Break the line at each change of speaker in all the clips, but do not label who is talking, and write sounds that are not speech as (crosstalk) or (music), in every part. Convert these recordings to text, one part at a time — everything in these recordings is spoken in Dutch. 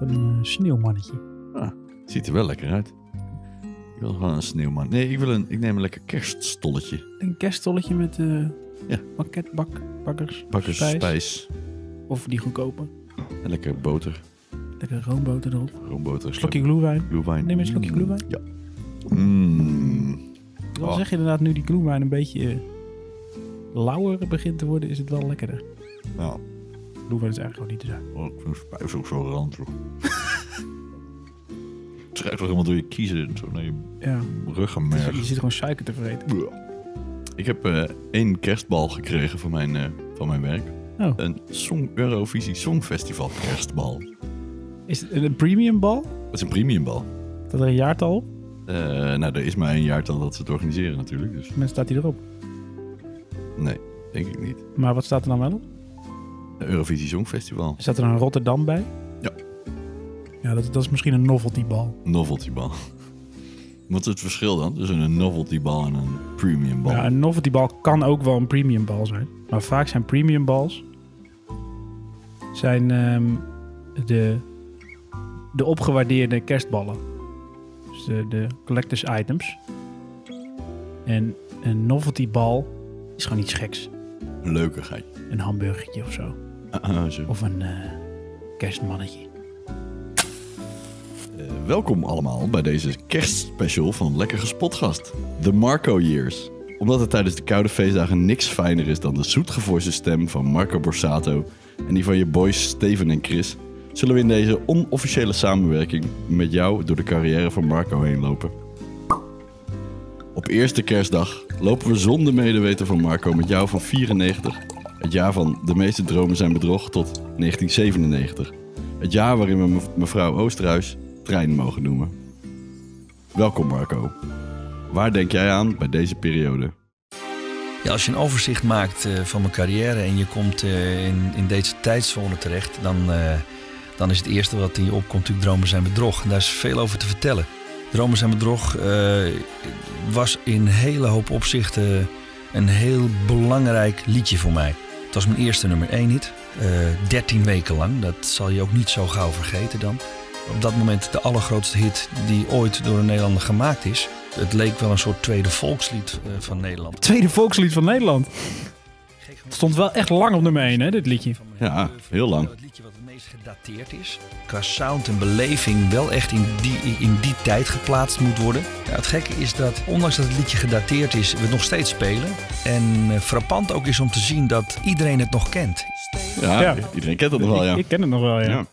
een eh, sneeuwmannetje.
Ah, Ziet er wel lekker uit. Ik wil gewoon een sneeuwman. Nee, ik, wil een, ik neem een lekker kerststolletje.
Een kerststolletje met eh
Ja.
pakketbak, bakkers,
Bakkers,
spijs.
spijs.
Of die goedkope.
en lekker boter.
Lekker roomboter erop.
Roomboter.
Slokje gloewijn.
gloewijn.
Neem een slokje
Mm,
gloewijn.
Ja. Mm.
Dan
Oh.
zeg je inderdaad nu die gloewijn een beetje eh, lauwer begint te worden, is het wel lekkerder.
Nou,
Gloewijn is eigenlijk gewoon niet te zijn.
oh, ik vind spijs ook zo ranzig. (laughs) Het ruikt toch helemaal door je kiezen en zo naar je
Ja,
ruggenmerg.
je zit gewoon suiker te vreten.
Ik heb eh, één kerstbal gekregen van mijn, eh, van mijn werk.
Oh.
Een Song Eurovisie Songfestival kerstbal.
Is het een premium bal?
Dat is een premiumbal.
Dat er een jaartal op?
Eh nou, er is maar één jaartal dat ze het organiseren natuurlijk. Dus
Dan staat die erop.
nee, denk ik niet.
Maar wat staat er dan wel op?
Een Eurovisie Songfestival.
Staat er een Rotterdam bij?
Ja.
Ja, dat, dat is misschien een novelty bal.
(laughs) Noveltybal. Wat is het verschil dan tussen een noveltybal en een premiumbal?
Ja, een novelty bal kan ook wel een premium bal zijn. Maar vaak zijn premium bals zijn ehm, de, de opgewaardeerde kerstballen. Dus de, de collectors items. En een novelty bal is gewoon iets geks.
Een leukigheid.
Een hamburgertje of zo.
Ah, ah, zo.
Of een eh, kerstmannetje.
Eh, welkom allemaal bij deze kerstspecial van Lekker Gespotgast. The Marco Years. Omdat het tijdens de koude feestdagen niks fijner is dan de zoetgevoiste stem van Marco Borsato en die van je boys Steven en Chris, zullen we in deze onofficiële samenwerking met jou door de carrière van Marco heen lopen. Op eerste kerstdag lopen we zonder medeweten van Marco met jou van 94. Het jaar van de meeste dromen zijn bedrog tot 1997. Het jaar waarin we mev- mevrouw Oosterhuis trein mogen noemen. Welkom Marco. Waar denk jij aan bij deze periode?
Ja, als je een overzicht maakt eh, van mijn carrière en je komt eh, in, in deze tijdzone terecht, dan, eh, dan is het eerste wat in je opkomt natuurlijk dromen zijn bedrog. En daar is veel over te vertellen. Dromen zijn bedrog eh, was in een hele hoop opzichten een heel belangrijk liedje voor mij. Het was mijn eerste nummer 1 hit, eh 13 weken lang. Dat zal je ook niet zo gauw vergeten dan. Op dat moment de allergrootste hit die ooit door een Nederlander gemaakt is. Het leek wel een soort tweede volkslied eh, van Nederland.
Tweede volkslied van Nederland. Het stond wel echt lang op nummer 1, hè, dit liedje.
Ja, heel lang.
Het liedje wat het meest gedateerd is. Qua sound en beleving wel echt in die, in die tijd geplaatst moet worden. Ja, het gekke is dat, ondanks dat het liedje gedateerd is, we het nog steeds spelen. En eh, frappant ook is om te zien dat iedereen het nog kent.
Ja,
Ja.
iedereen kent dat nog wel, ja.
(laughs) Ik, ik ken het nog wel, ja.
Ja.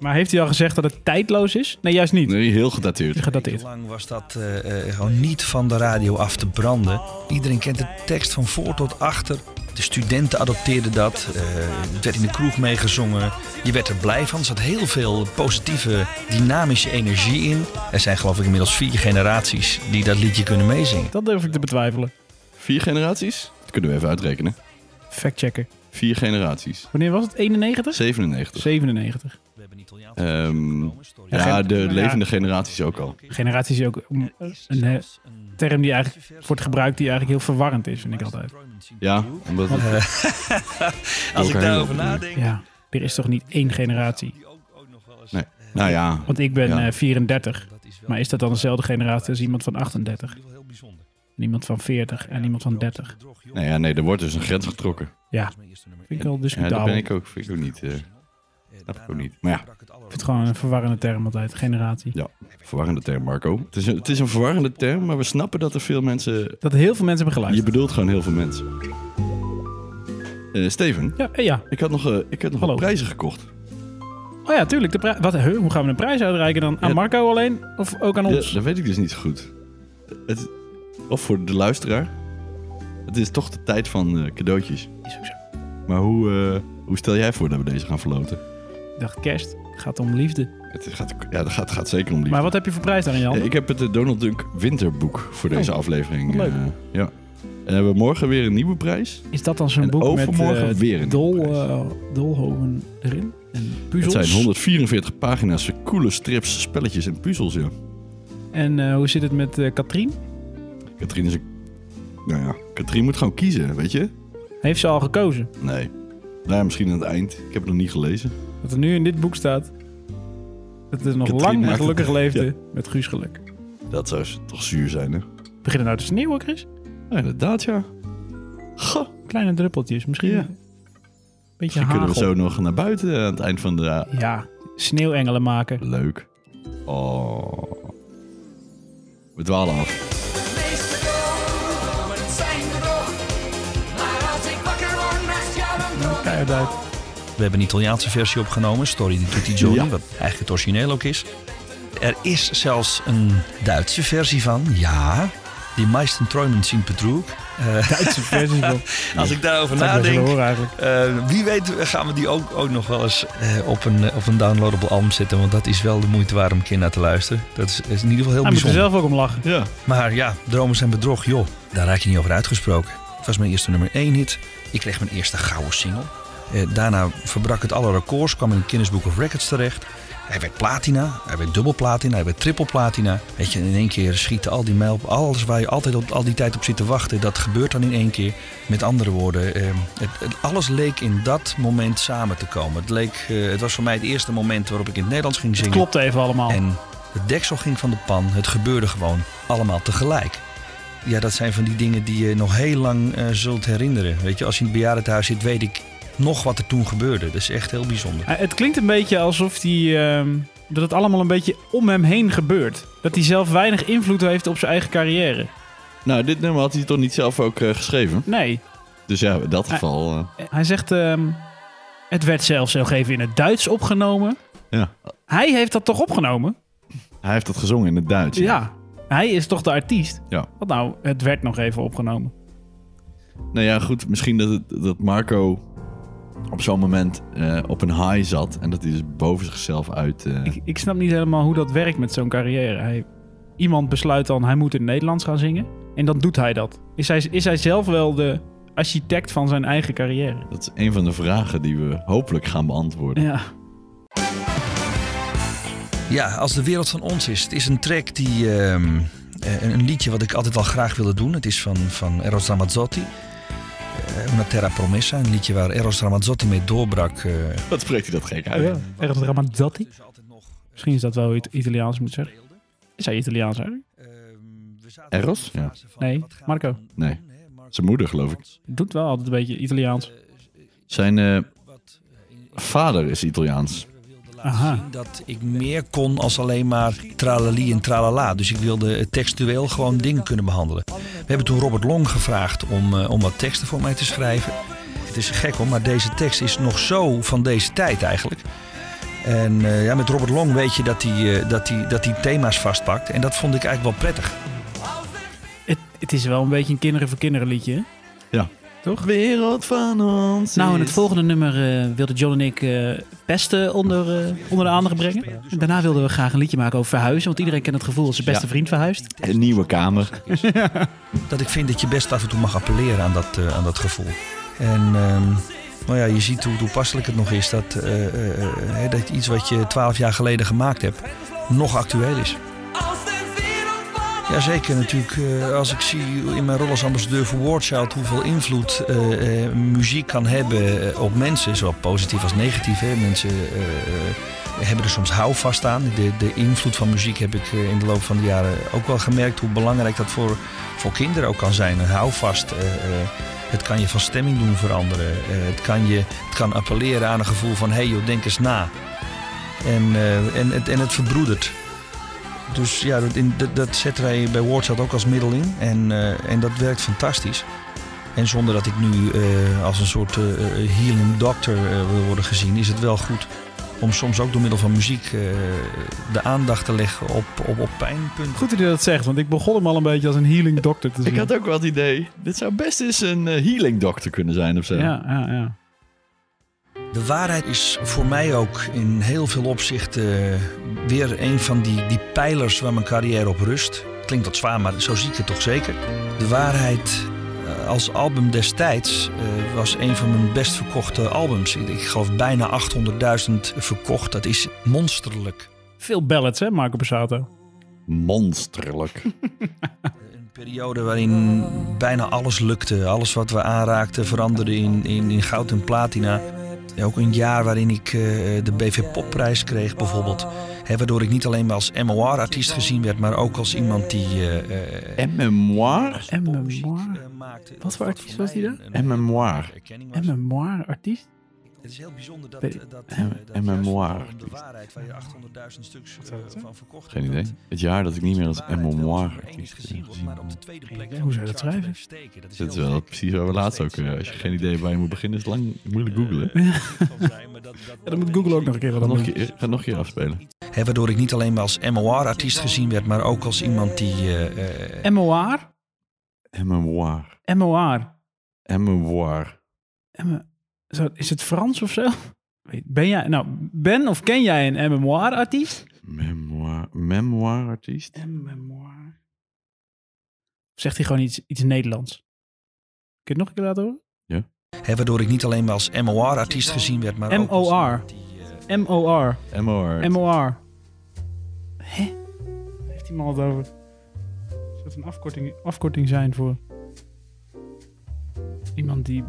Maar heeft hij al gezegd dat het tijdloos is? Nee, juist niet.
Nee, heel gedateerd.
Gedateerd.
Lang was dat eh, eh, gewoon niet van de radio af te branden. Iedereen kent de tekst van voor tot achter. De studenten adopteerden dat. eh, het werd in de kroeg meegezongen. Je werd er blij van. Er zat heel veel positieve, dynamische energie in. Er zijn geloof ik inmiddels vier generaties die dat liedje kunnen meezingen.
Dat durf ik te betwijfelen.
Vier generaties? Dat kunnen we even uitrekenen.
Factchecken.
Vier generaties.
Wanneer was het? 91?
97.
97.
We hebben een Italiaans
Ehm, ja,
Gen-
de
ja.
levende generaties ook al.
Generatie is ook een, een eh, term die eigenlijk wordt gebruikt die eigenlijk heel verwarrend is, vind ik altijd.
Ja, omdat het-
Als ik
Elkaar
daarover
heel goed.
nadenk...
Ja, er is toch niet één generatie?
Nee. Nou ja,
Want ik ben
Ja.
eh, 34. Maar is dat dan dezelfde generatie als iemand van 38?
Heel bijzonder.
En iemand van 40 en iemand van 30?
nou ja, nee, er wordt dus een grens getrokken.
Ja, vind ik wel
Ja, dat
discutabel.
ben ik ook, vind ik ook niet. eh, snap ik ook niet. Maar ja,
Ik vind het gewoon een verwarrende term altijd, generatie.
ja, verwarrende term, Marco. Het is, een, het is een verwarrende term, maar we snappen dat er veel mensen...
Dat heel veel mensen hebben
Je
geluisterd.
bedoelt gewoon heel veel mensen. Eh, Steven,
Ja, eh, ja.
ik had nog, eh, ik had nog
Hallo.
wat prijzen gekocht.
Oh ja, tuurlijk. De pri- Wat, huh, hoe gaan we een prijs uitreiken dan? Aan
Ja.
Marco alleen? Of ook aan
Ja,
ons?
dat weet ik dus niet zo goed. Het, of voor de luisteraar. Het is toch de tijd van eh, cadeautjes.
Is ook zo.
Maar hoe, eh, hoe stel jij voor dat we deze gaan verloten?
Ik dacht kerst. Het gaat om liefde.
Het gaat, ja, dat gaat, gaat zeker om liefde.
Maar wat heb je voor prijs dan, Jan?
Eh, ik heb het eh, Donald Duck winterboek voor deze
Oh,
aflevering.
wat leuk.
eh, ja. En dan hebben we morgen weer een nieuwe prijs.
Is dat dan zo'n
en
boek met
overmorgen
eh,
weer een
dol,
prijs.
eh, dolhoven erin? En
Het
puzzels?
zijn 144 pagina's coole strips, spelletjes en puzzels. Ja.
En eh, hoe zit het met eh Katrien?
Katrien is een... Nou ja, Katrien moet gewoon kiezen, weet je?
Heeft ze al gekozen?
Nee. Nou ja, misschien aan het eind. Ik heb het nog niet gelezen.
Wat er nu in dit boek staat, Dat is nog
Katrien
lang en
maakt het.
gelukkig leefde
Ja.
met Guus geluk.
Dat zou z- toch zuur zijn, hè?
Beginnen nou te sneeuwen, Chris?
Ja, inderdaad, ja. Goh,
Kleine druppeltjes, misschien
Ja.
een beetje
misschien kunnen we
hagel.
zo nog naar buiten aan het eind van de... ja,
Ja, sneeuwengelen maken.
Leuk. Oh. We dwalen af.
meeste dromen zijn bedrog. Maar als ik wakker word naast jou, dan droom ik
Keihard
(laughs)
uit.
We hebben een Italiaanse versie opgenomen, Story di Tutti Giorni,
Ja.
wat eigenlijk het origineel ook is. Er is zelfs een Duitse versie van, ja, die meisten träumen sind Betrug. Eh,
Duitse versie van.
(laughs) als ik daarover
Dat zou ik best willen
nadenk,
horen eigenlijk.
eh, wie weet gaan we die ook, ook nog wel eens eh, op, een, eh, op een downloadable album zetten. Want dat is wel de moeite waard om een keer naar te luisteren. Dat is, is in ieder geval heel
Hij moet er
bijzonder.
zelf ook om lachen.
Ja.
Maar ja, dromen zijn bedrog, joh. Daar raak je niet over uitgesproken. Het was mijn eerste nummer 1 hit. Ik kreeg mijn eerste gouden single. Eh, daarna verbrak het alle records, kwam in het Guinness Book of Records terecht. Hij werd platina, hij werd dubbel platina, hij werd triple platina. Weet je, in één keer schieten al die mijl op. Alles waar je altijd op, al die tijd op zit te wachten, dat gebeurt dan in één keer. Met andere woorden, eh, het, het- alles leek in dat moment samen te komen. Het, leek, eh, het was voor mij het eerste moment waarop ik in het Nederlands ging
Het
zingen.
klopt even allemaal.
En het deksel ging van de pan. Het gebeurde gewoon allemaal tegelijk. Ja, dat zijn van die dingen die je nog heel lang eh, zult herinneren. Weet je, als je in het bejaardentehuis zit, weet ik nog wat er toen gebeurde. Dat is echt heel bijzonder.
Eh, Het klinkt een beetje alsof die, ehm, dat het allemaal een beetje om hem heen gebeurt. Dat hij zelf weinig invloed heeft op zijn eigen carrière.
Nou, dit nummer had hij toch niet zelf ook eh, geschreven?
Nee,
Dus ja, in dat geval... eh,
eh, hij zegt... ehm, het werd zelfs nog even in het Duits opgenomen.
ja.
Hij heeft dat toch opgenomen?
Hij heeft dat gezongen in het Duits.
Ja. Hij is toch de artiest?
Ja.
Wat nou, het werd nog even opgenomen.
Nou ja, goed. Misschien dat, het- dat Marco op zo'n moment eh, op een high zat. En dat hij dus boven zichzelf uit... eh,
Ik, ik snap niet helemaal hoe dat werkt met zo'n carrière. Hij, iemand besluit dan, hij moet in het Nederlands gaan zingen. En dan doet hij dat. Is hij, is hij zelf wel de architect van zijn eigen carrière?
Dat is een van de vragen die we hopelijk gaan beantwoorden.
Ja.
Ja, als de wereld van ons is. Het is een track die. ehm, eh, een een liedje wat ik altijd al graag wilde doen. Het is van, van Eros Ramazzotti. Eh, Una Terra Promessa. Een liedje waar Eros Ramazzotti mee doorbrak. eh.
Wat spreekt hij dat gek uit?
ja. Ergens Ramazzotti?
Dus altijd nog-
Misschien is dat wel It- Italiaans, moet ik zeggen. Is hij Italiaans eigenlijk?
Ehm,
Eros? Ja.
Nee, Marco.
Nee. Zijn moeder, geloof ik.
Doet wel altijd een beetje Italiaans.
Zijn eh, vader is Italiaans.
Aha.
Aha. Dat ik meer kon als alleen maar tralali en tralala. Dus ik wilde eh, textueel gewoon dingen kunnen behandelen. We hebben toen Robert Long gevraagd om, eh, om wat teksten voor mij te schrijven. Het is gek hoor, maar deze tekst is nog zo van deze tijd eigenlijk. En eh, ja, met Robert Long weet je dat hij, eh, dat, hij, dat hij thema's vastpakt. En dat vond ik eigenlijk wel prettig.
Het, het is wel een beetje een kinderen voor kinderen liedje. hè?
Ja.
Toch?
Wereld van ons
Nou, in het volgende nummer eh, wilden John en ik eh, pesten onder, eh, onder de aandacht brengen. En daarna wilden we graag een liedje maken over verhuizen. Want iedereen kent het gevoel dat zijn beste
Ja.
vriend verhuist.
Een nieuwe
(laughs)
kamer.
dat ik vind dat je best af en toe mag appelleren aan dat, eh, aan dat gevoel. En ehm, nou ja, je ziet hoe toepasselijk het nog is dat, eh, eh, eh, hè, dat iets wat je twaalf jaar geleden gemaakt hebt nog actueel is.
als de wereld van ons
Jazeker natuurlijk, eh, als ik zie in mijn rol als ambassadeur voor Wardchild hoeveel invloed eh, eh, muziek kan hebben eh, op mensen, zowel positief als negatief. Hè. Mensen eh, eh, hebben er soms houvast aan. De, de invloed van muziek heb ik eh, in de loop van de jaren ook wel gemerkt hoe belangrijk dat voor, voor kinderen ook kan zijn. Een houvast. eh, eh, het kan je van stemming doen veranderen. Eh, het, kan je, het kan appelleren aan een gevoel van hé hey, joh, denk eens na. En, eh, en, het, en het verbroedert. Dus ja, dat, in, dat, dat zetten wij bij Wordshot ook als middel in. En, eh, en dat werkt fantastisch. En zonder dat ik nu eh, als een soort eh, eh, healing doctor eh, wil worden gezien, is het wel goed om soms ook door middel van muziek eh, de aandacht te leggen op, op, op pijnpunten.
Goed dat je dat zegt, want ik begon hem al een beetje als een healing doctor te zien.
Ik had ook wel het idee, dit zou best eens een eh, healing dokter kunnen zijn of zo.
Ja, ja, ja.
De waarheid is voor mij ook in heel veel opzichten eh, weer een van die, die pijlers waar mijn carrière op rust. Klinkt wat zwaar, maar zo zie ik het toch zeker. De waarheid eh, als album destijds eh, was een van mijn best verkochte albums. Ik, ik geloof bijna 800.000 verkocht. Dat is monsterlijk.
Veel ballads, hè, Marco Passato.
Monsterlijk.
Een periode waarin bijna alles lukte. Alles wat we aanraakten veranderde in, in, in goud en platina. Ja, ook een jaar waarin ik eh, de BV Popprijs kreeg bijvoorbeeld. Hè, waardoor ik niet alleen maar als MOR-artiest gezien werd, maar ook als iemand die... eh, eh,
En memoir?
En
popmuziek,
memoir.
eh, maakte.
Wat voor artiest was
mij
die
een-
dan?
een-
En memoir.
erkenning was.
En memoir artiest?
Het is heel bijzonder dat...
Weet-
eh, dat, eh,
en-
dat
en
juist
memoir.
rondom De waarheid, waar je 800.000 stuks eh,
dat zijn?
van verkocht
Geen
hebt,
idee.
dat-
Het jaar dat ik niet meer als
de waarheid wel als
memoir
nummer één is
artiest
gezien
ben
wordt, maar
gezien.
op de tweede
Geen
plek
idee.
van
Hoe zou
de
je dat
chart
schrijven?
blijft steken. Dat is
Dat is
heel
wel
gek.
precies waar we laatst ook... eh, als je geen idee hebt waar je moet beginnen, is lang moeilijk googlen.
Eh, van zijn, maar dat- dat-
(laughs) Ja, dan moet Google ook nog een keer wat aan
Nog een
doen.
keer, ga nog een keer afspelen.
Hè, waardoor ik niet alleen maar als MOR-artiest gezien werd, maar ook als iemand die... eh, eh,
MOR?
En memoir.
MOR.
En memoir.
Emme- Zo, Is het Frans of zo? Weet- Ben jij, nou, ben of ken jij een memoir artiest?
Memoir. Memoir artiest?
Memoir. Zegt hij gewoon iets, iets Nederlands? Kun je het nog een keer laten horen?
hè, waardoor ik niet alleen maar als MOR-artiest gezien werd, maar ook als
MOR.
iemand die, eh,
MOR.
MOR.
MOR. Hè? Heeft die man het over? Zou het een afkorting, afkorting zijn voor iemand die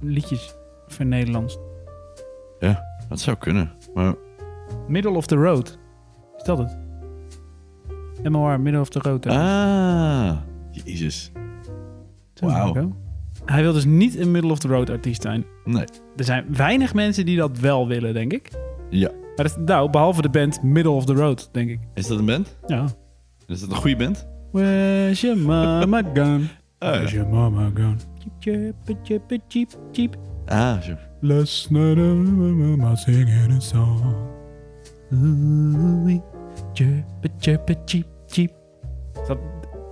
liedjes vernederlands?
Dat zou kunnen. Maar
Middle of the road. Is dat het? MOR, middle of the road. hè?
Ah, jezus.
Zo, Marco. Hij wil dus niet een middle of the road artiest zijn.
Nee.
Er zijn weinig mensen die dat wel willen, denk ik.
Ja.
Maar dat, nou, behalve de band Middle of the Road, denk ik.
Is dat een band?
Ja.
Is dat een goede band?
Where's your mama (laughs) gone?
ja.
Where's your mama gone? Cheep, cheep, cheep, cheep, cheep.
Ah, zo.
Last night I remember singing a song. Ooh-wee. Cheep, cheep, cheep, cheep. Is dat,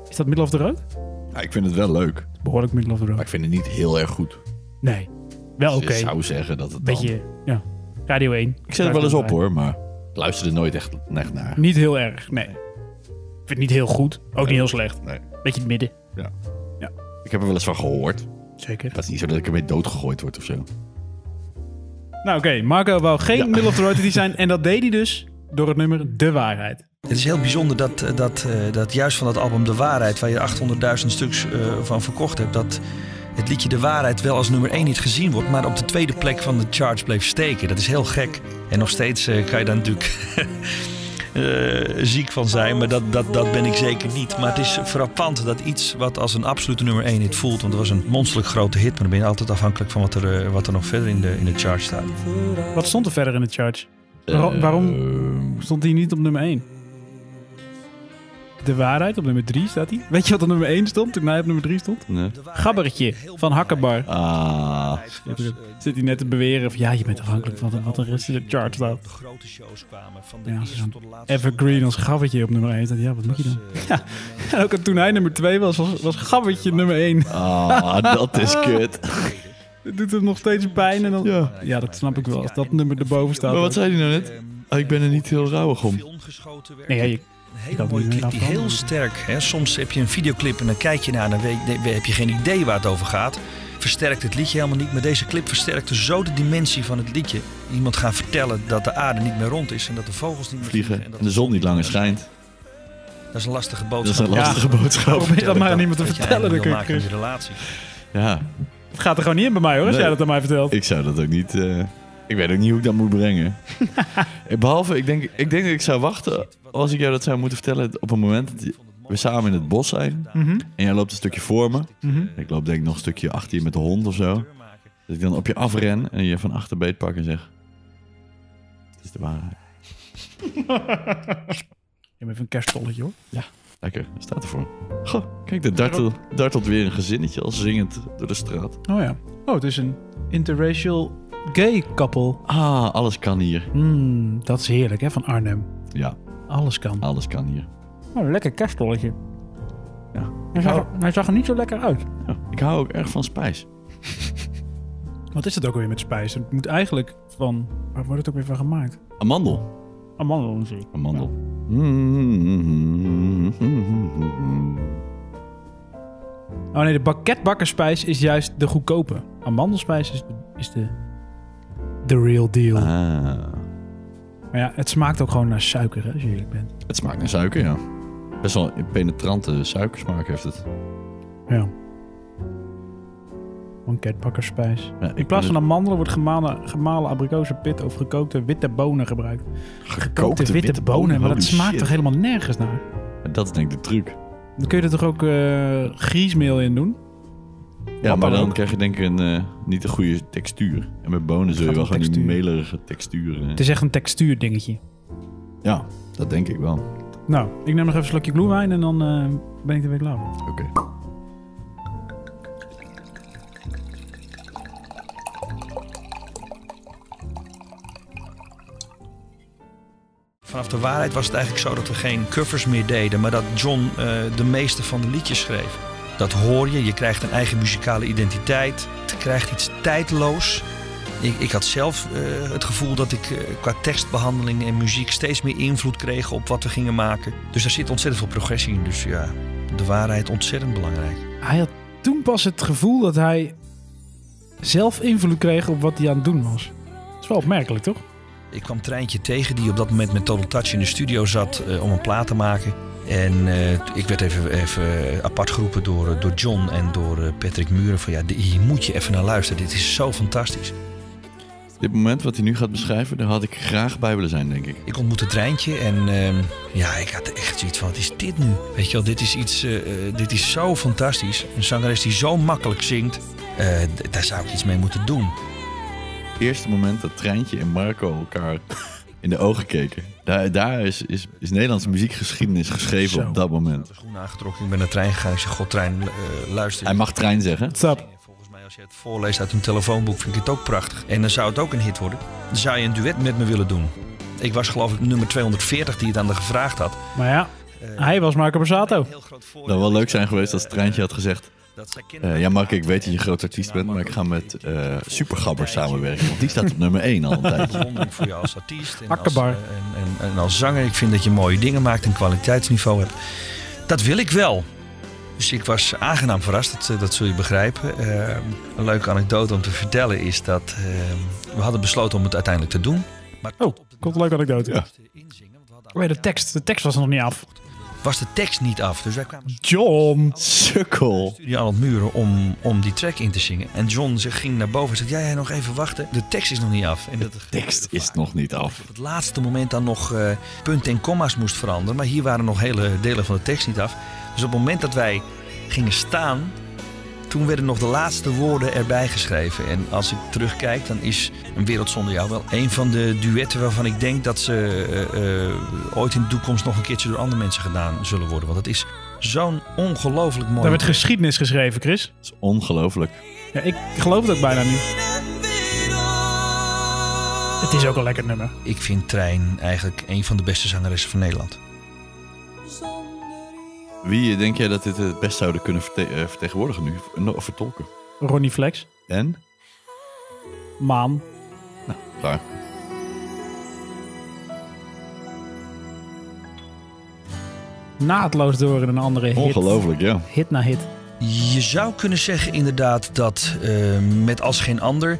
is dat Middle of the Road?
Ja, ik vind het wel leuk,
Behoorlijk Middle of the
maar
Road.
ik vind het niet heel erg goed.
Nee. Wel oké.
Dus ik zou zeggen dat het dan-
Beetje, ja. Radio 1.
Ik zet het wel eens op hoor, maar ik luister er nooit echt, echt naar.
Niet heel erg, nee. Ik vind het niet heel goed. Ook niet heel slecht.
Nee.
Beetje het midden.
Ik heb er wel eens van gehoord.
Zeker.
Dat is niet zo dat ik ermee doodgegooid word of zo.
Nou oké, Marco wou geen middel of the road artiest
(laughs)
zijn. En dat deed hij dus door het nummer De Waarheid.
Het is heel bijzonder dat, eh, dat, eh, dat juist van dat album De Waarheid, waar je 800.000 stuks eh, van verkocht hebt, dat het liedje De Waarheid wel als nummer 1 niet gezien wordt, maar op de tweede plek van de charts bleef steken. Dat is heel gek. En nog steeds eh, kan je daar natuurlijk (laughs) eh, ziek van zijn, maar dat, dat, dat ben ik zeker niet. Maar het is frappant dat iets wat als een absolute nummer 1 hit voelt, want het was een monsterlijk grote hit, maar dan ben je altijd afhankelijk van wat er, eh, wat er nog verder in de, in de charts staat.
Wat stond er verder in de charts? Waarom-
Eh,
waarom
Ehm,
stond hij niet op nummer 1? De Waarheid op nummer 3 staat hij. Weet je wat op nummer 1 stond toen hij op nummer 3 stond?
nee.
Gabbertje van Hakkenbar.
Ah,
Zit hij net te beweren van ja, je bent afhankelijk van wat de rest in de charts staat.
De grote shows kwamen van de
Ja, als je
eerste
dan
tot de laatste.
Evergreen als gabbertje op nummer 1 staat. Ja, wat moet je dan?
eh,
Ja. (laughs) En ook toen hij nummer 2 was, was, was gabbertje nummer 1.
ah, dat is kut.
Het eh, doet hem nog steeds pijn. En dan... ja. dat snap ik wel. Als dat nummer erboven staat.
Maar wat zei hij nou net? Ah, ik ben er niet heel rauwig om.
Ehm, Film geschoten werd.
Nee, ja, je-
Een
Ik
hele
had
mooie
niet
clip, die
afgehandeld.
heel sterk. Hè? Soms heb je een videoclip en dan kijk je naar en dan weet, nee, heb je geen idee waar het over gaat. Versterkt het liedje helemaal niet, maar deze clip versterkte zo de dimensie van het liedje. Iemand gaan vertellen dat de aarde niet meer rond is en dat de vogels niet meer
Vliegen
dat
en de zon niet langer schijnt.
Dat is een lastige
Dat is een
boodschap.
lastige boodschap.
Probeer dat maar aan iemand te
Weet je,
vertellen. Dan
wil
kun
maken in
je...
je relatie.
Ja,
Het gaat er gewoon niet in bij mij hoor, als
Nee.
jij dat aan mij vertelt.
Ik zou dat ook niet. eh, ik weet ook niet hoe ik dat moet
(laughs)
brengen. Eh, Behalve, ik denk, ik denk dat ik zou wachten als ik jou dat zou moeten vertellen op een moment dat we samen in het bos zijn
Mhm.
en jij loopt een stukje voor me.
Mhm.
Ik loop denk ik nog een stukje achter je met de hond of zo. Dat ik dan op je afren en je van achter beet pak en zeg: "Dit is de waarheid."
Ik heb even een kersttolletje hoor.
Lekker, daar staat ervoor. Goh, kijk, er dartelt, dartelt weer een gezinnetje al zingend door de straat.
Oh ja. Oh, het is een interracial gay couple.
Ah, alles kan hier.
Mm, dat is heerlijk hè, van Arnhem.
Ja,
Alles kan.
alles kan hier.
Oh, lekker kersttolletje.
Ja.
Hij zag, hij zag er niet zo lekker uit.
Ja, ik hou ook erg van spijs.
Wat is het ook alweer met spijs? Het moet eigenlijk van... Waar wordt het ook weer van gemaakt?
Amandel.
Amandel natuurlijk.
Amandel.
Oh nee, de bakketbakkerspijs is juist de goedkope. Amandelspijs is de, is de, de real deal.
Ah,
Maar ja, het smaakt ook gewoon naar suiker, hè, als je eerlijk bent.
het smaakt naar suiker, ja. Best wel een penetrante suikersmaak heeft het.
Ja. Banketbakkerspijs.
Ja,
In plaats van amandelen wordt gemalen, gemalen abrikozenpit of gekookte witte bonen gebruikt. Gekookte witte, bonen, maar dat smaakt toch helemaal nergens naar?
helemaal... Dat is denk ik de truc.
Dan kun je er toch ook eh, griesmeel in doen?
Ja, maar
dan
dan
ook.
krijg je denk ik een, eh, niet een goede textuur. En met bonen zul je
gaat
wel
om
gewoon die
textuur.
melerige textuur. eh.
Het is echt een textuurdingetje.
Ja, dat denk ik wel. Oké.
Nou, ik neem nog even een slokje gloewijn en dan eh, ben ik er weer klaar voor.
Vanaf de waarheid was het eigenlijk zo dat we geen covers meer deden, maar dat John eh, de meeste van de liedjes schreef. Dat hoor je, je krijgt een eigen muzikale identiteit, je krijgt iets tijdloos. Ik, ik had zelf eh, het gevoel dat ik eh, qua tekstbehandeling en muziek steeds meer invloed kreeg op wat we gingen maken. Dus daar zit ontzettend veel progressie in. Dus ja, de waarheid ontzettend belangrijk.
Hij had toen pas het gevoel dat hij zelf invloed kreeg op wat hij aan het doen was. Dat is wel opmerkelijk, toch?
Ik kwam Treintje tegen die op dat moment met Total Touch in de studio zat eh, om een plaat te maken. En eh, ik werd even, even apart geroepen door, eh, door John en door eh, Patrick Muren. Van ja, di- hier moet je even naar luisteren. Dit is zo fantastisch.
Dit moment wat hij nu gaat beschrijven, daar had ik graag bij willen zijn, denk ik.
Ik ontmoette Treintje en ehm, ja, ik had echt zoiets van, wat is dit nu? Weet je wel, dit is, iets, eh, eh, dit is zo fantastisch. Een zangeres die zo makkelijk zingt, eh, d- daar zou ik iets mee moeten doen.
eerste moment dat Treintje en Marco elkaar in de ogen keken. Daar, daar is, is, is Nederlandse muziekgeschiedenis geschreven
Zo.
op dat
Ik
moment.
had de schoenen aangetrokken, ik ben naar Trein gegaan. Ik zei, god Trein, eh, luister.
Hij mag Trein zeggen.
Stap.
Volgens mij als je het voorleest uit een telefoonboek vind ik het ook prachtig. En dan zou het ook een hit worden. Dan zou je een duet met me willen doen. Ik was geloof ik nummer 240 die het aan de gevraagd had. Eh,
Maar ja, hij was Marco Borsato.
Het zou wel leuk zijn geweest als Treintje had gezegd... eh, ja Marco, ik weet dat je een groot artiest bent, maar ik ga met eh Supergabber samenwerken. Want die staat op nummer 1 al een tijdje.
Bewondering voor je als artiest en als,
Akkerbar.
eh, en, en, en als zanger. Ik vind dat je mooie dingen maakt en kwaliteitsniveau hebt. Dat wil ik wel. Dus ik was aangenaam verrast, dat, eh, dat zul je begrijpen. Eh, een leuke anekdote om te vertellen is dat eh, we hadden besloten om het uiteindelijk te doen. Maar
Oh, komt een leuke anekdote.
Ja.
Oh ja, de tekst, de tekst was er nog niet af.
was de tekst niet af. Dus wij kwamen
John.
Sukkel.
studie aan het muren om, om die track in te zingen. En John ze ging naar boven en zei, jij, jij nog even wachten. De tekst is nog niet af. En dat
Tekst is nog niet af.
op het laatste moment dan nog eh, punten en comma's moest veranderen. Maar hier waren nog hele delen van de tekst niet af. Dus op het moment dat wij gingen staan, toen werden nog de laatste woorden erbij geschreven. En als ik terugkijk, dan is Een Wereld Zonder Jou wel een van de duetten waarvan ik denk dat ze eh, eh, ooit in de toekomst nog een keertje door andere mensen gedaan zullen worden. Want het is zo'n ongelooflijk mooi.
Daar werd geschiedenis geschreven, Chris.
Het is ongelooflijk.
Ja, ik geloof het ook bijna niet. Het is ook een lekker nummer.
Ik vind Trein eigenlijk een van de beste zangeressen van Nederland.
Wie eh, denk jij dat dit het best zouden kunnen verte- eh, vertegenwoordigen nu? Of- no- Vertolken.
Ronnie Flex,
En?
Maan.
Klaar.
Naadloos door in een andere hit.
Ongelooflijk, ja.
Hit na hit.
Je zou kunnen zeggen inderdaad dat eh, met als geen ander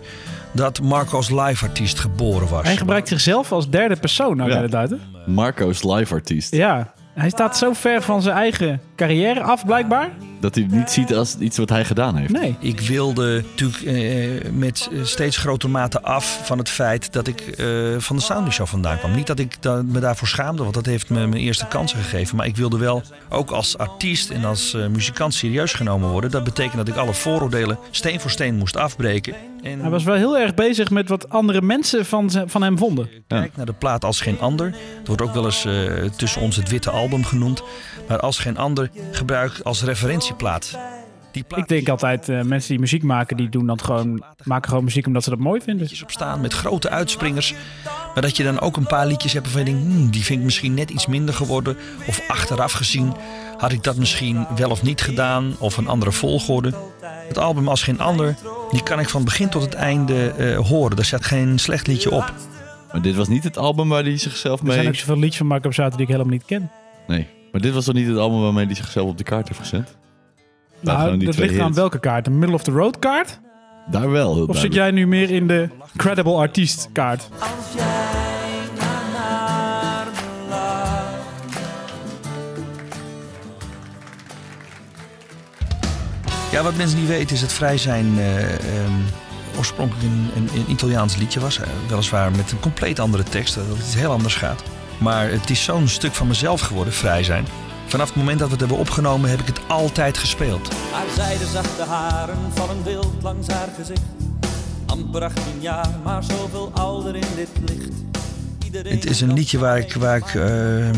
dat Marco als live-artiest geboren was.
Hij gebruikt zichzelf als derde persoon, nou
Ja.
inderdaad. Hè?
Marco's live artiest.
Ja, hij staat zo ver van zijn eigen carrière af, blijkbaar.
Dat hij het niet ziet als iets wat hij gedaan heeft.
Nee.
Ik wilde natuurlijk eh, met eh, steeds grotere mate af van het feit dat ik eh, van de Soundly Show vandaan kwam. Niet dat ik da- me daarvoor schaamde, want dat heeft me mijn eerste kansen gegeven. Maar ik wilde wel ook als artiest en als eh, muzikant serieus genomen worden. Dat betekent dat ik alle vooroordelen steen voor steen moest afbreken. En
Hij was wel heel erg bezig met wat andere mensen van, ze- van hem vonden.
Kijk naar de plaat als geen ander. Het wordt ook wel eens eh, tussen ons het witte album genoemd. Maar als geen ander gebruik als referentieplaat. Die plaat
Ik denk altijd, eh, mensen die muziek maken, die doen dat gewoon, maken gewoon muziek omdat ze dat mooi vinden.
liedjes op staan met grote uitspringers. Maar dat je dan ook een paar liedjes hebt waarvan je denkt... "Hmm, die vind ik misschien net iets minder geworden. Of achteraf gezien had ik dat misschien wel of niet gedaan. Of een andere volgorde. Het album als geen ander... die kan ik van begin tot het einde eh, horen. Daar staat geen slecht liedje op.
Maar dit was niet het album waar hij zichzelf
Er zijn
mee...
ook zoveel liedjes van Marco Borsato die ik helemaal niet
Nou,
ken.
Nee. Maar dit was toch niet het album waarmee hij zichzelf op de kaart heeft gezet?
Nou,
gewoon die
dat
twee
ligt aan
hits. Nou,
welke kaart? De middle of the road kaart?
Daar wel. heel
Of zit
duidelijk.
jij nu meer in de credible artiest kaart?
Als jij naar haar lacht.
Ja, wat mensen niet weten is dat Vrij zijn eh, ehm, oorspronkelijk een, een, een Italiaans liedje was. Eh, weliswaar met een compleet andere tekst, dat het iets heel anders gaat. Maar het is zo'n stuk van mezelf geworden, Vrij zijn. Vanaf het moment dat we het hebben opgenomen heb ik het altijd gespeeld.
Haar zijdezachte haren vallen wild langs haar gezicht. Amper 18 jaar, maar zoveel ouder in dit licht. Iedereen
Het is een liedje waar ik, waar ik ehm,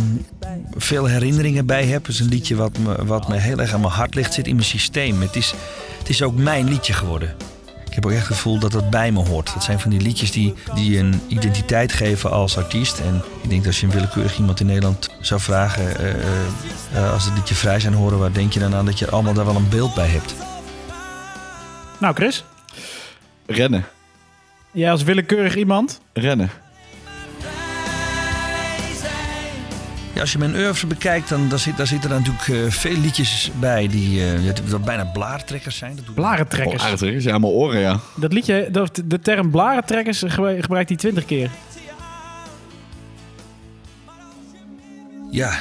veel herinneringen bij heb. Het is een liedje wat me, wat me heel erg aan mijn hart ligt, zit in mijn systeem. Het is, het is ook mijn liedje geworden. Ik heb ook echt het gevoel dat dat bij me hoort. Dat zijn van die liedjes die, die een identiteit geven als artiest. En ik denk dat als je een willekeurig iemand in Nederland zou vragen... eh, eh, eh, als het liedje Vrij zijn horen, waar denk je dan aan dat je allemaal daar wel een beeld bij hebt?
Nou, Chris,
Rennen.
jij als willekeurig iemand.
Rennen.
Ja, als je mijn oeuvre bekijkt, dan daar zit, daar zitten er natuurlijk eh, veel liedjes bij die eh, ja, die wel bijna blaartrekkers zijn. Dat doet
Oh,
Blarentrekkers.
aardig. is Ja, mijn oren,
(laughs)
ja.
dat liedje, dat, de term blarentrekkers ge- gebruikt hij twintig keer. Dus
Ja,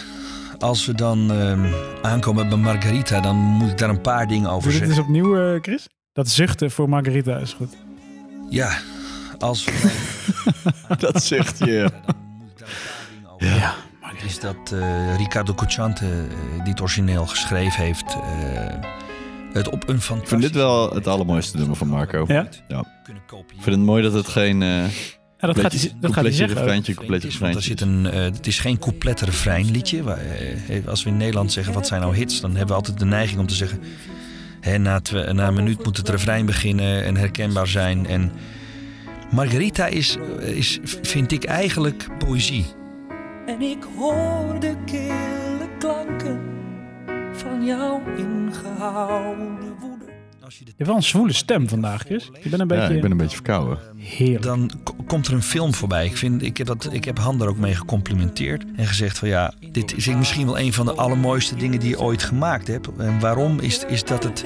als we dan ehm, aankomen bij Margarita, dan moet ik daar een paar dingen over
Dus dit
zeggen.
is opnieuw, eh, Chris. Dat zuchten voor Margarita is goed.
Ja, als we dan
(laughs) Dat zegt je.
dan moet ik daar een paar dingen over zeggen. Het is dat eh, Ricardo Cocciante, eh, die het origineel geschreven heeft, eh, het op een fantastisch...
Ik vind dit wel het allermooiste nummer van Marco.
Ja?
Ja.
Kunnen kopiëren.
Ik vind het mooi dat het geen eh
Ja, dat gaat hij,
completje,
dat gaat hij
completje
zeggen. ook.
refreintje, completje
is, want er
refreintje.
zit een, eh, het is geen couplet refrein liedje. Waar, eh, als we in Nederland zeggen wat zijn nou hits, dan hebben we altijd de neiging om te zeggen... Hè, na, twe- na een minuut moet het refrein beginnen en herkenbaar zijn. En Margarita is, eh, is, vind ik eigenlijk poëzie.
En ik hoor de kille klanken van jouw ingehouden woede.
Als je de-
Je hebt wel een zwoele stem vandaag, Chris. Je bent een
Ja,
beetje
ik ben een beetje verkouden.
heerlijk.
Dan k- komt er een film voorbij. Ik, vind, ik, heb dat, ik heb Han daar ook mee gecomplimenteerd. En gezegd van ja, dit is misschien wel een van de allermooiste dingen die je ooit gemaakt hebt. En waarom is, is dat het...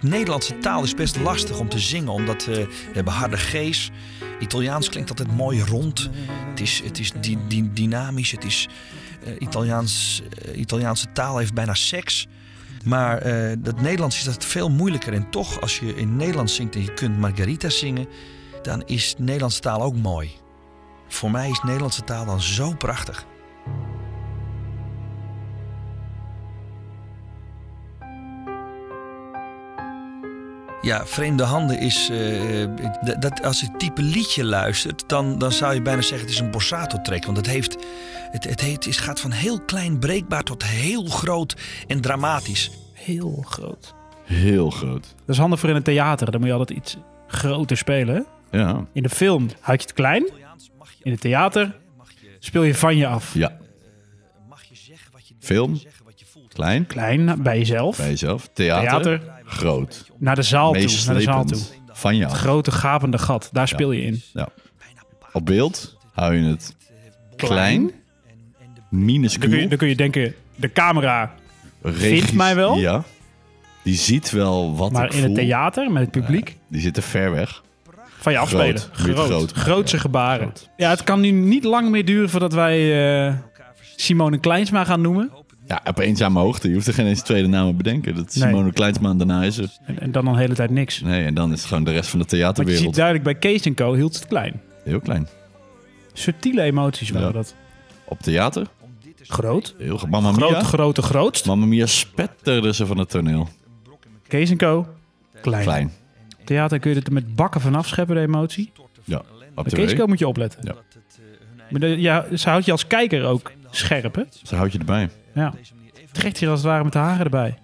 Nederlandse taal is best lastig om te zingen, omdat eh, we hebben harde G's. Italiaans klinkt altijd mooi rond. Het is, het is di- di- dynamisch. Het is, eh, Italiaans, eh, Italiaanse taal heeft bijna seks. Maar eh, dat Nederlands is dat veel moeilijker. En toch, als je in Nederlands zingt en je kunt Margarita zingen, dan is Nederlandse taal ook mooi. Voor mij is Nederlandse taal dan zo prachtig. Ja, Vreemde Handen is. eh, eh, dat- dat, als je het type liedje luistert, dan, dan zou je bijna zeggen: het is een borsato-track. Want het, heeft, het, het, heet, het gaat van heel klein breekbaar tot heel groot en dramatisch.
Heel groot.
Heel groot.
Dat is handig voor in het theater. Dan moet je altijd iets groter spelen. hè?
Ja.
In de film houd je het klein. In het theater speel je van je af.
Ja. Film. Klein.
Klein bij jezelf.
Bij jezelf. Theater.
Theater.
Groot.
Naar de zaal toe. Naar de zaal toe.
Meeslepend. Van jou.
Grote gapende gat. Daar speel je in.
Ja. Op beeld hou je het klein.
Dan kun je,
Minuscuul.
dan kun je denken, de camera.
Regis-
mij wel.
Ja. Die ziet wel wat ik
Maar in het
voel.
theater met het publiek.
Die zitten ver weg.
Van je afspelen.
Groot, wit groot.
Grootse gebaren. Ja, het kan nu niet lang meer duren voordat wij eh, Simone Kleinsma gaan noemen.
Ja, op eenzame hoogte. Je hoeft er geen eens tweede namen bedenken. Dat is
Nee.
Simone Kleinsma en daarna is er.
En, en dan al de hele tijd niks.
Nee, en dan is het gewoon de rest van de
Want je ziet
theaterwereld
duidelijk bij Kees Co. hield het klein.
heel klein.
Subtiele emoties waren
Ja.
dat.
Op theater,
Groot.
heel ge- Mamma
Groot,
Mia.
grote, grootst.
Mamma Mia spetterde ze van het toneel.
Kees Co. Klein.
Klein.
Theater kun je het er met bakken van afscheppen, de emotie.
Ja, op
Bij Kees
tv.
Co moet je opletten.
Ja.
eh,
Maar de- ja, ze houdt je als kijker ook scherp, hè?
Ze houdt je erbij.
Ja. Trekt je als het ware met de haren erbij.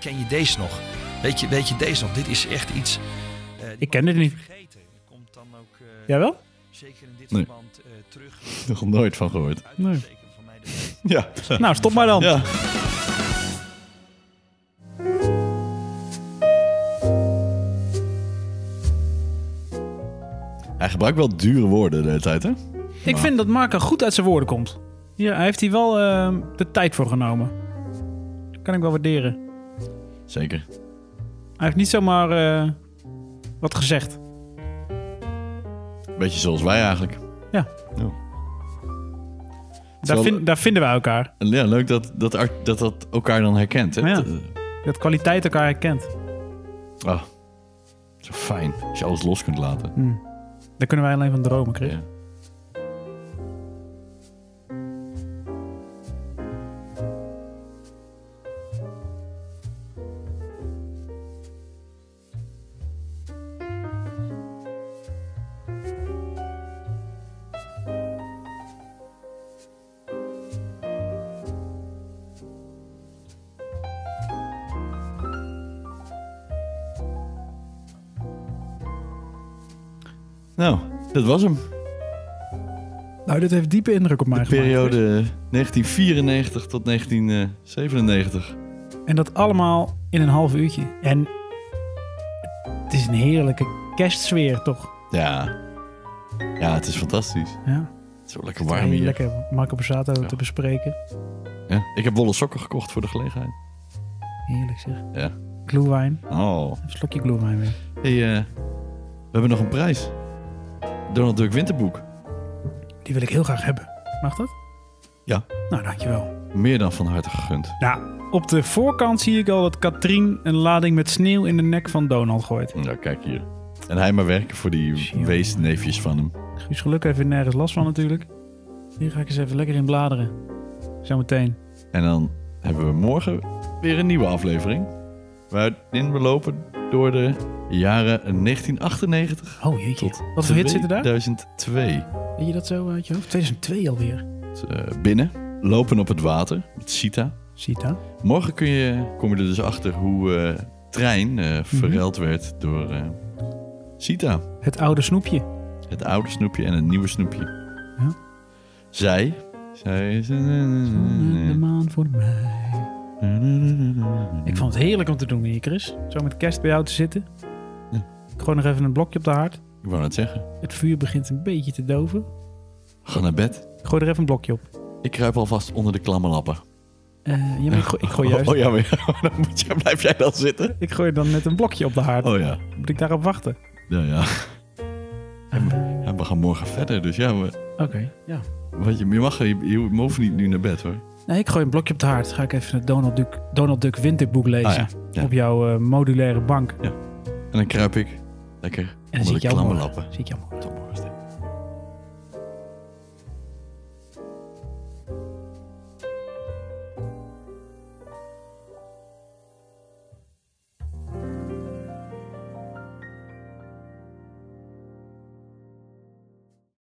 Ken je deze nog? Weet je, weet je deze nog? Dit is echt iets. eh, die
Ik ken
mag
dit
je
niet.
vergeten. Die komt dan ook, eh,
Jij wel?
Zeker in dit
Nee.
verband eh, terug.
(laughs) Nog nooit van gehoord.
Nee.
Zeker voor mij de
Ja.
Nou, stop maar dan.
ja. (laughs) Hij gebruikt wel dure woorden de hele tijd, hè?
Ik vind dat Marco goed uit zijn woorden komt. Ja, hij heeft hier wel ehm, de tijd voor genomen. Dat kan ik wel waarderen.
Zeker.
Hij heeft niet zomaar eh, wat gezegd.
Beetje zoals wij eigenlijk.
Daar,
Zal-
vind- daar vinden we elkaar.
En Ja, leuk dat dat, art- dat, dat elkaar dan herkent. Hè?
Ja.
Dat, eh,
Dat kwaliteit elkaar herkent.
Ah, zo fijn. Als je alles los kunt laten.
Daar kunnen wij alleen van dromen, Chris.
Ja. Nou, dat was hem.
Nou, dit heeft diepe indruk op mij
De
gemaakt.
periode 1994 tot 1997.
En dat allemaal in een half uurtje. En het is een heerlijke kerstsfeer, toch?
Ja. Ja, het is fantastisch.
Ja.
Het is zo lekker warm
Heel
hier.
Lekker Marco Borsato te bespreken.
Ja. Ik heb wollen sokken gekocht voor de gelegenheid.
Heerlijk zeg.
Ja.
Gloewijn.
Oh.
Een slokje gloewijn weer.
Hey, eh, we hebben nog een prijs. Donald Duck Winterboek.
Die wil ik heel graag hebben. Mag dat?
Ja.
Nou, dankjewel.
Meer dan van harte gegund.
Nou, op de voorkant zie ik al dat Katrien een lading met sneeuw in de nek van Donald gooit.
Nou, kijk hier. En hij maar werken voor die
Jongen.
weesneefjes van hem.
Guus Geluk heeft er nergens last van natuurlijk. Hier ga ik eens even lekker in bladeren. Zometeen.
En dan hebben we morgen weer een nieuwe aflevering. Waarin we lopen door de jaren 1998
Oh jeetje.
tot
Wat voor hits zitten daar?
2002.
Weet je dat zo uit je hoofd? 2002 alweer.
Eh, binnen, lopen op het water met Sita.
Sita.
Morgen kun je, kom je er dus achter hoe eh, trein eh
Mhm.
verruild werd door eh, Sita.
Het oude snoepje.
Het oude snoepje en het nieuwe snoepje.
Ja.
Zij. Zij is... Mm.
De maan voor mij. Ik vond het heerlijk om te doen hier, Chris. Zo met kerst bij jou te zitten.
Ja.
Ik gooi nog even een blokje op de haard.
Ik wou het zeggen.
Het vuur begint een beetje te doven.
Ga naar bed.
Ik gooi er even een blokje op.
Ik kruip alvast onder de klamme lappen.
Eh, ja, maar ik, gooi, ik (laughs) gooi juist.
Oh, oh ja, maar ja, (laughs) dan moet jij, blijf jij dan zitten?
Ik gooi dan net een blokje op de haard.
Oh ja.
Moet ik daarop wachten?
Nou ja.
Ah.
Ja, we gaan morgen verder, dus ja. we-
Oké, ja.
Wat je, je, mag, je, je hoeft niet nu naar bed hoor.
Nee, ik gooi een blokje op de haard. Ga ik even het Donald Duck, Donald Duck winterboek lezen.
Ah, ja.
Op jouw eh, modulaire bank.
En dan kruip ik lekker
En dan
onder
zie
de
ik jou
klamme
morgen.
lappen.
Zie ik jou morgen.
Tot